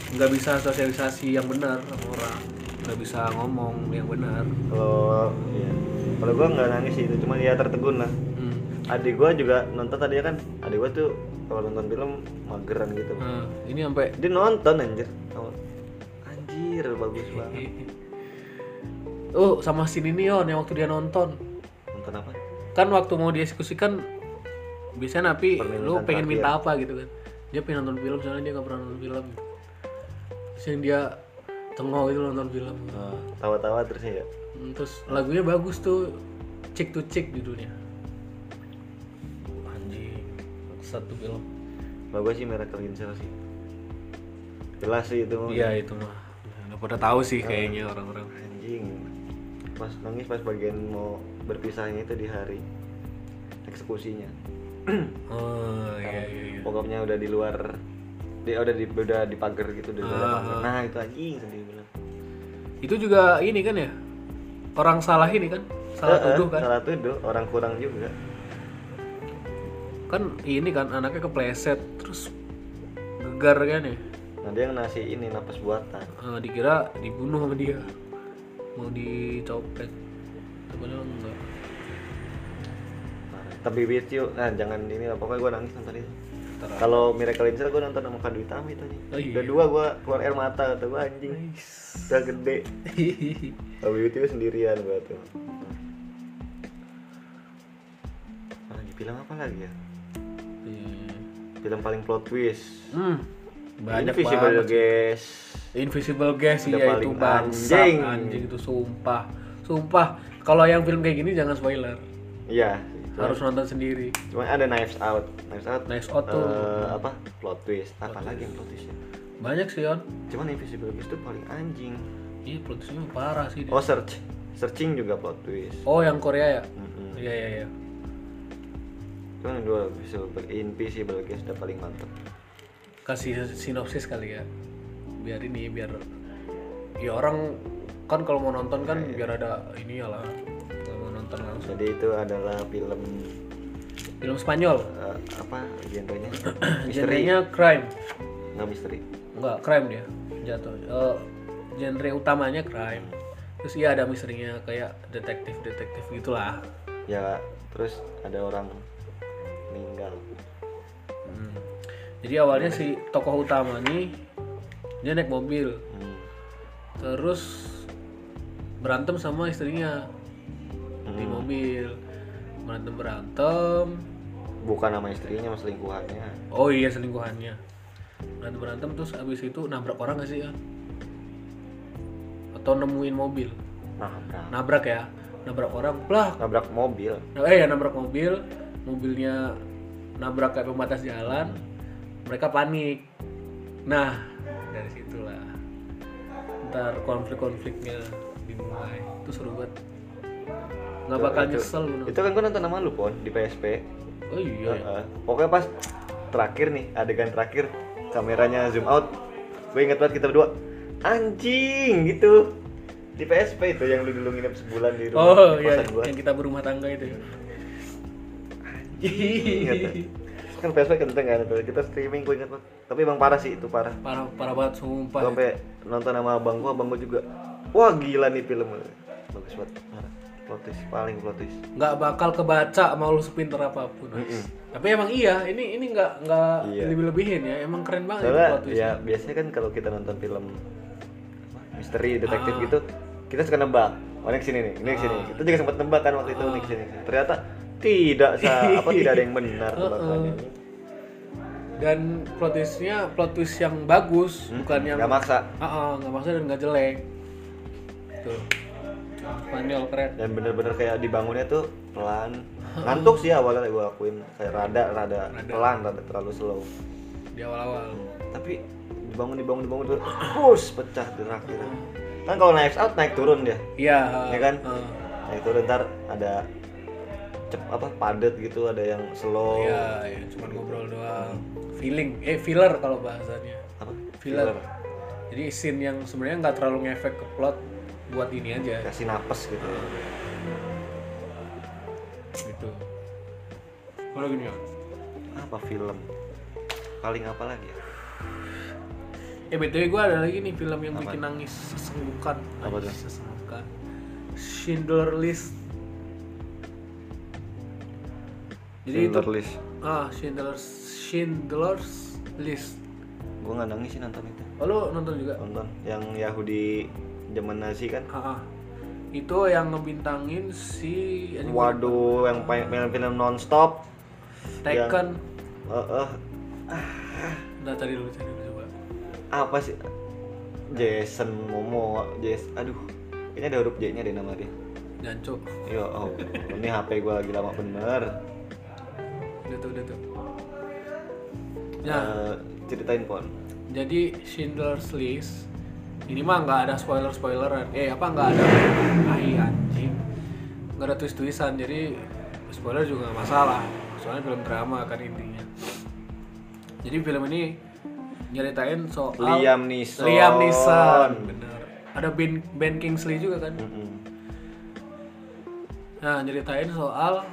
Speaker 2: nggak bisa sosialisasi yang benar sama orang nggak bisa ngomong yang benar
Speaker 1: kalau ya kalau gua nggak nangis sih itu cuman ya tertegun lah
Speaker 2: hmm.
Speaker 1: adik gua juga nonton tadi kan adik gua tuh kalau nonton film mageran gitu
Speaker 2: Nah, ini sampai
Speaker 1: dia nonton anjir anjir bagus banget
Speaker 2: oh sama si Ninion yang waktu dia nonton
Speaker 1: nonton apa
Speaker 2: kan waktu mau dieksekusikan biasanya napi
Speaker 1: Permintaan
Speaker 2: lu
Speaker 1: terakhir.
Speaker 2: pengen minta apa gitu kan dia pengen nonton film soalnya dia nggak pernah nonton film terus yang dia tengok itu nonton film
Speaker 1: tawa-tawa terus ya
Speaker 2: Hmm, Terus lagunya bagus tuh, Chick to Chick judulnya. Anjing, satu film.
Speaker 1: bagus sih Miracle in Cell sih jelas sih itu mah.
Speaker 2: Iya itu mah. Udah pada tahu sih kayaknya orang-orang.
Speaker 1: anjing pas nangis pas bagian mau berpisahnya itu di hari eksekusinya
Speaker 2: oh iya iya iya
Speaker 1: pokoknya udah di luar dia udah di udah di pagar gitu udah di luar
Speaker 2: Ah.
Speaker 1: pagar. nah itu anjing sedih bilang
Speaker 2: itu juga ini kan ya orang salah ini kan salah tuduh kan
Speaker 1: salah tuduh orang kurang juga
Speaker 2: kan ini kan anaknya kepleset terus gegar kan ya
Speaker 1: nah dia yang nasi ini napas buatan
Speaker 2: Eh, dikira dibunuh sama dia mau dicopet sebenarnya enggak
Speaker 1: Parah. tapi with you nah jangan ini lah pokoknya gue nangis nonton itu
Speaker 2: Ntar lah.
Speaker 1: kalau Miracle in Cell gue nonton sama Kadu Hitam itu aja
Speaker 2: Oh, iya.
Speaker 1: udah dua gue keluar air mata kata gue anjing udah gede
Speaker 2: Iya.
Speaker 1: tapi with you sendirian gue tuh Apa lagi film apa lagi ya
Speaker 2: Iya.
Speaker 1: film paling plot twist
Speaker 2: hmm, banyak
Speaker 1: Invisible
Speaker 2: banget
Speaker 1: guys
Speaker 2: Invisible
Speaker 1: Udah
Speaker 2: Guest ya itu
Speaker 1: paling
Speaker 2: bangsa
Speaker 1: anjing.
Speaker 2: anjing. itu sumpah sumpah kalau yang film kayak gini jangan spoiler
Speaker 1: iya
Speaker 2: harus nonton sendiri
Speaker 1: cuma ada Knives Out Knives Out
Speaker 2: Knives Out tuh.
Speaker 1: eh, apa plot twist apa lagi yang plot twistnya
Speaker 2: banyak sih on
Speaker 1: cuman Invisible guys tuh paling anjing
Speaker 2: iya plot twistnya parah sih dia.
Speaker 1: oh search searching juga plot twist
Speaker 2: oh yang Korea ya
Speaker 1: Mm-mm.
Speaker 2: iya iya iya
Speaker 1: cuman yang dua Invisible, Invisible guys udah paling mantep
Speaker 2: kasih sinopsis kali ya biar ini biar ya orang kan kalau mau nonton kan
Speaker 1: Iya,
Speaker 2: biar ada ini ya lah Kalau mau nonton langsung
Speaker 1: jadi itu adalah film
Speaker 2: film Spanyol
Speaker 1: eh, apa genrenya misteri
Speaker 2: genrenya crime
Speaker 1: nggak misteri
Speaker 2: enggak crime dia jatuh Eh, genre utamanya crime terus iya ada misterinya kayak detektif detektif gitulah
Speaker 1: ya terus ada orang meninggal
Speaker 2: Hmm. jadi awalnya si tokoh utama nih dia naik mobil
Speaker 1: Hmm.
Speaker 2: terus berantem sama istrinya di mobil berantem berantem
Speaker 1: bukan nama istrinya mas selingkuhannya
Speaker 2: oh iya selingkuhannya berantem berantem terus abis itu nabrak orang gak sih ya atau nemuin mobil
Speaker 1: nabrak
Speaker 2: nabrak ya nabrak orang lah
Speaker 1: nabrak mobil
Speaker 2: Nah, eh ya nabrak mobil, mobilnya nabrak kayak pembatas jalan, mereka panik. Nah, dari situlah ntar konflik-konfliknya dimulai. Itu seru banget. Nggak bakal nyesel lu nonton.
Speaker 1: itu kan gua nonton nama lu pon di PSP
Speaker 2: Oh iya. ya.
Speaker 1: Heeh. pokoknya pas terakhir nih adegan terakhir kameranya zoom out gue inget banget kita berdua anjing gitu di PSP itu yang lu dulu nginep sebulan di rumah
Speaker 2: Oh
Speaker 1: di
Speaker 2: iya,
Speaker 1: kosan gua.
Speaker 2: yang kita berumah tangga itu. ya.
Speaker 1: Ingat ya. kan PSP kenteng kan itu. kita streaming gue inget banget tapi emang parah sih itu parah
Speaker 2: parah parah banget
Speaker 1: gue
Speaker 2: sumpah.
Speaker 1: sampai nonton sama abang gue abang gue juga wah gila nih film bagus banget parah plot twist paling plot twist
Speaker 2: nggak bakal kebaca mau lu sepinter apapun. Tapi emang iya, ini ini nggak nggak
Speaker 1: Iya.
Speaker 2: lebih-lebihin ya. Emang keren banget itu
Speaker 1: soalnya
Speaker 2: plot twist.
Speaker 1: ya biasanya kan kalau kita nonton film apa, misteri detektif
Speaker 2: Ah.
Speaker 1: gitu kita suka nebak oh ini kesini nih ini kesini kita juga sempat nebak kan waktu itu ini kesini ternyata tidak sa apa tidak ada yang benar tebakannya
Speaker 2: dan plot twistnya plot twist yang bagus bukan yang
Speaker 1: nggak maksa
Speaker 2: Ah, ah, nggak maksa dan nggak jelek tuh Spanyol keren
Speaker 1: dan bener-bener kayak dibangunnya tuh pelan ngantuk sih awalnya gue akuin kayak rada rada pelan rada terlalu slow
Speaker 2: di awal-awal
Speaker 1: tapi dibangun dibangun dibangun tuh bus pecah gerak gerak kan kalau naik out naik turun dia
Speaker 2: iya
Speaker 1: ya kan nah itu ntar ada cep apa padat gitu ada yang slow
Speaker 2: iya ya, cuman ngobrol doang feeling eh filler kalau bahasanya
Speaker 1: apa
Speaker 2: filler, jadi scene yang sebenarnya nggak terlalu ngefek ke plot buat ini aja
Speaker 1: kasih napas gitu
Speaker 2: gitu kalau gini Yon?
Speaker 1: apa film paling apa lagi ya
Speaker 2: Eh btw gue ada lagi nih film yang bikin nangis sesenggukan.
Speaker 1: Apa tuh?
Speaker 2: Nangis Sesenggukan. Schindler List. Jadi itu
Speaker 1: list
Speaker 2: ah Schindler Schindler's List.
Speaker 1: gue nggak nangis sih nonton itu
Speaker 2: Oh, lu nonton juga?
Speaker 1: nonton yang Yahudi zaman Nazi kan
Speaker 2: Ah, ah. Itu yang ngebintangin si anjing,
Speaker 1: waduh yang pa- film-film nonstop iya.
Speaker 2: Taken.
Speaker 1: eh eh,
Speaker 2: Udah cari dulu cari dulu coba.
Speaker 1: apa sih Jason Momoa Jason aduh kayaknya ada huruf J nya deh nama dia
Speaker 2: Jancu.
Speaker 1: yo oh, ini HP gue lagi lama bener
Speaker 2: Udah tuh udah tuh. Nah,
Speaker 1: Eh, ceritain pon
Speaker 2: Jadi Schindler's List ini mah nggak ada spoiler spoileran. Eh apa nggak ada? Ah iya, anjing. nggak ada twist twistan jadi spoiler juga nggak masalah soalnya film drama kan intinya jadi film ini nyeritain soal
Speaker 1: Liam Neeson.
Speaker 2: Liam Neeson bener ada Ben Ben Kingsley juga kan
Speaker 1: Mm-mm.
Speaker 2: nah nyeritain soal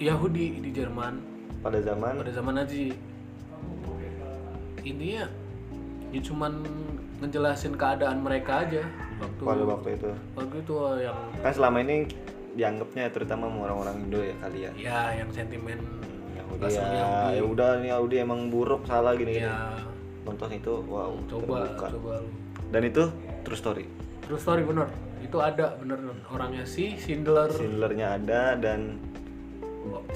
Speaker 2: Yahudi di Jerman
Speaker 1: pada zaman
Speaker 2: pada zaman Nazi intinya ya cuman ngejelasin keadaan mereka aja waktu
Speaker 1: pada waktu itu
Speaker 2: waktu itu yang
Speaker 1: kan selama ini dianggapnya terutama sama orang-orang Indo ya kali ya
Speaker 2: ya yang sentimen
Speaker 1: Yahudi
Speaker 2: Bahasa
Speaker 1: ya,
Speaker 2: Yahudi.
Speaker 1: ya udah nih Yahudi emang buruk salah gini gini
Speaker 2: ya
Speaker 1: nonton itu wow
Speaker 2: coba
Speaker 1: Iya. terbuka.
Speaker 2: coba lu
Speaker 1: dan itu true story
Speaker 2: terus story bener itu ada bener orangnya si Schindler
Speaker 1: Schindlernya ada dan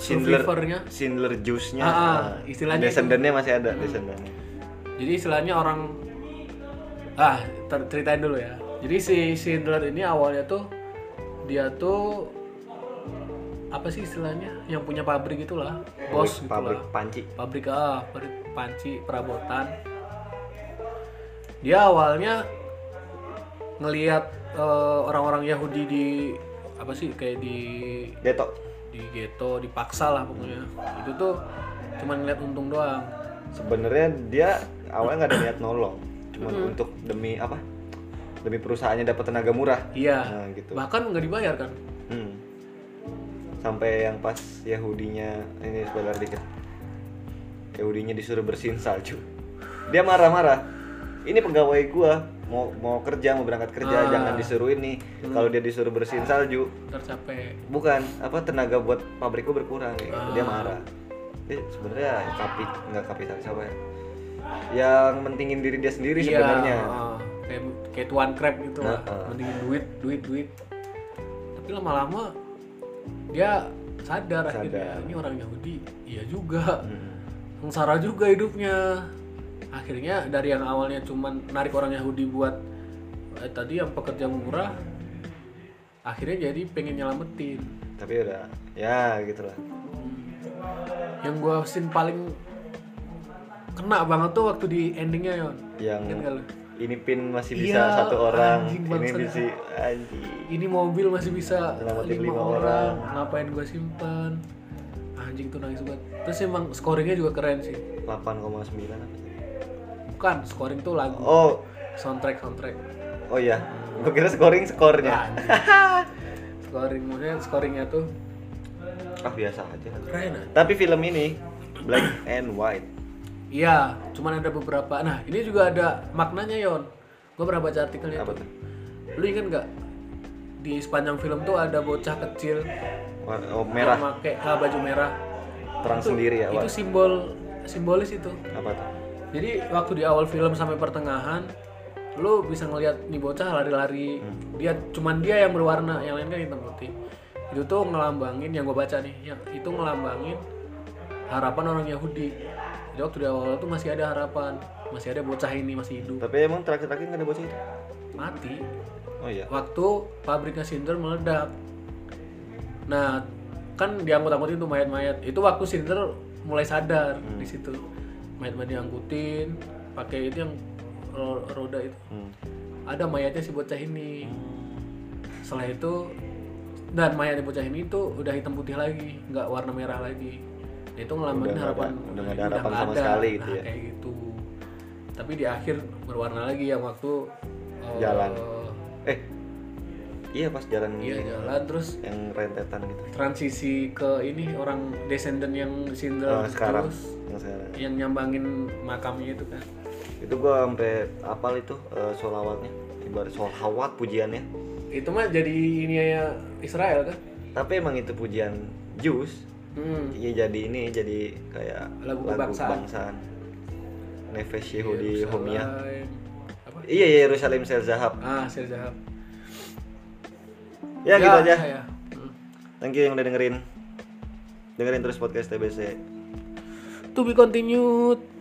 Speaker 1: Schindler
Speaker 2: survivornya
Speaker 1: Schindler Juice-nya
Speaker 2: Ah, ah,
Speaker 1: nah,
Speaker 2: istilahnya itu. Hmm.
Speaker 1: descendannya masih ada descendannya
Speaker 2: jadi istilahnya orang ah ter- ceritain dulu ya jadi si Schindler ini awalnya tuh dia tuh apa sih istilahnya yang punya pabrik itulah bos
Speaker 1: Pabrik-
Speaker 2: gitulah
Speaker 1: pabrik panci
Speaker 2: pabrik ah pabrik panci perabotan dia awalnya ngelihat eh, orang-orang Yahudi di apa sih kayak di
Speaker 1: detok
Speaker 2: di ghetto dipaksa lah pokoknya itu tuh cuman ngeliat untung doang
Speaker 1: sebenarnya dia awalnya nggak ada niat nolong cuma untuk demi apa demi perusahaannya dapat tenaga murah
Speaker 2: iya
Speaker 1: nah gitu
Speaker 2: bahkan nggak dibayar kan
Speaker 1: Hmm. sampai yang pas Yahudinya ini spoiler dikit Yahudinya disuruh bersihin salju dia marah-marah ini pegawai gua mau mau kerja mau berangkat kerja
Speaker 2: Ah.
Speaker 1: jangan disuruh ini kalau dia disuruh bersihin salju
Speaker 2: tercapai
Speaker 1: bukan apa tenaga buat pabrikku berkurang kayak gitu. dia
Speaker 2: Ah.
Speaker 1: marah dia sebenarnya kapi nggak kapitalis apa ya yang mentingin diri dia sendiri
Speaker 2: Iya,
Speaker 1: sebenarnya Ah,
Speaker 2: heeh. kayak kayak tuan crab gitu lah
Speaker 1: Heeh.
Speaker 2: mendingin duit duit duit tapi lama-lama dia sadar,
Speaker 1: Sadar.
Speaker 2: akhirnya ini orang Yahudi iya juga
Speaker 1: Hmm.
Speaker 2: sengsara juga hidupnya akhirnya dari yang awalnya cuman narik orang Yahudi buat eh, tadi yang pekerja murah akhirnya jadi pengen nyelamatin
Speaker 1: tapi udah ya gitulah
Speaker 2: yang gua scene paling kena banget tuh waktu di endingnya yon
Speaker 1: yang
Speaker 2: Ingat nggak lu?
Speaker 1: ini pin masih bisa
Speaker 2: Iya,
Speaker 1: satu orang
Speaker 2: anjing
Speaker 1: ini
Speaker 2: bangsat.
Speaker 1: bisa anjing
Speaker 2: ini mobil masih bisa
Speaker 1: Nyelamatin
Speaker 2: lima
Speaker 1: lima
Speaker 2: orang. ngapain gue simpan anjing tuh nangis banget terus emang scoringnya juga keren sih
Speaker 1: 8,9 apa sih?
Speaker 2: bukan scoring tuh lagu
Speaker 1: oh
Speaker 2: soundtrack soundtrack
Speaker 1: oh iya gue kira scoring skornya
Speaker 2: Iya, anjing scoring maksudnya scoringnya tuh
Speaker 1: ah biasa aja
Speaker 2: keren ah.
Speaker 1: tapi film ini black and white
Speaker 2: iya cuman ada beberapa nah ini juga ada maknanya yon gue pernah baca artikelnya
Speaker 1: apa
Speaker 2: tuh
Speaker 1: tuh
Speaker 2: lu inget nggak di sepanjang film tuh ada bocah kecil
Speaker 1: War- oh,
Speaker 2: yang
Speaker 1: merah
Speaker 2: pakai ah, baju merah
Speaker 1: terang sendiri ya
Speaker 2: itu
Speaker 1: Wak.
Speaker 2: simbol simbolis itu
Speaker 1: apa tuh
Speaker 2: Jadi waktu di awal film sampai pertengahan, lu bisa ngelihat nih bocah lari-lari. Dia cuman dia yang berwarna, yang lain kan hitam putih. Itu tuh ngelambangin yang gue baca nih, yang itu ngelambangin harapan orang Yahudi. Jadi waktu di awal tuh masih ada harapan, masih ada bocah ini masih hidup.
Speaker 1: tapi emang terakhir-terakhir nggak ada bocah itu
Speaker 2: Mati
Speaker 1: oh iya
Speaker 2: waktu pabriknya Schindler meledak. Nah, kan diangkut-angkutin tuh mayat-mayat. Itu waktu Schindler mulai sadar
Speaker 1: Hmm.
Speaker 2: di situ. Mayat-mayat diangkutin, pakai itu yang ro- roda itu.
Speaker 1: Hmm.
Speaker 2: Ada mayatnya si bocah ini. Setelah itu dan mayatnya bocah ini tuh udah hitam putih lagi, nggak warna merah lagi. Nah, Itu ngelambangin
Speaker 1: Udah nggak
Speaker 2: harapan
Speaker 1: ada- udah nggak ada
Speaker 2: udah
Speaker 1: harapan
Speaker 2: nggak
Speaker 1: sama
Speaker 2: ada.
Speaker 1: sekali gitu
Speaker 2: Nah,
Speaker 1: ya.
Speaker 2: Kayak gitu. Tapi di akhir berwarna lagi yang waktu eh,
Speaker 1: Jalan. eh iya pas jalan
Speaker 2: Iya jalan terus
Speaker 1: yang rentetan gitu
Speaker 2: transisi ke ini orang descendant yang
Speaker 1: Oh,
Speaker 2: Schindler
Speaker 1: sekarang
Speaker 2: terus
Speaker 1: yang sekarang
Speaker 2: yang nyambangin makamnya itu kan
Speaker 1: itu gua sampai apal itu eh, solawatnya ibarat solawat pujiannya
Speaker 2: itu mah jadi ini ya Israel kan
Speaker 1: tapi emang itu pujian Jews
Speaker 2: hmm.
Speaker 1: Iya jadi ini jadi kayak
Speaker 2: Lagu kebangsaan.
Speaker 1: kebangsaan. Nefesh Yehudi
Speaker 2: Yerusalem.
Speaker 1: Homia.
Speaker 2: apa
Speaker 1: Iya iya Yerusalem Sel Zahab.
Speaker 2: ah Sir Zahab
Speaker 1: Ya, gitu aja.
Speaker 2: ya. Hmm.
Speaker 1: Thank you yang udah dengerin. Dengerin terus podcast TBC.
Speaker 2: to be continued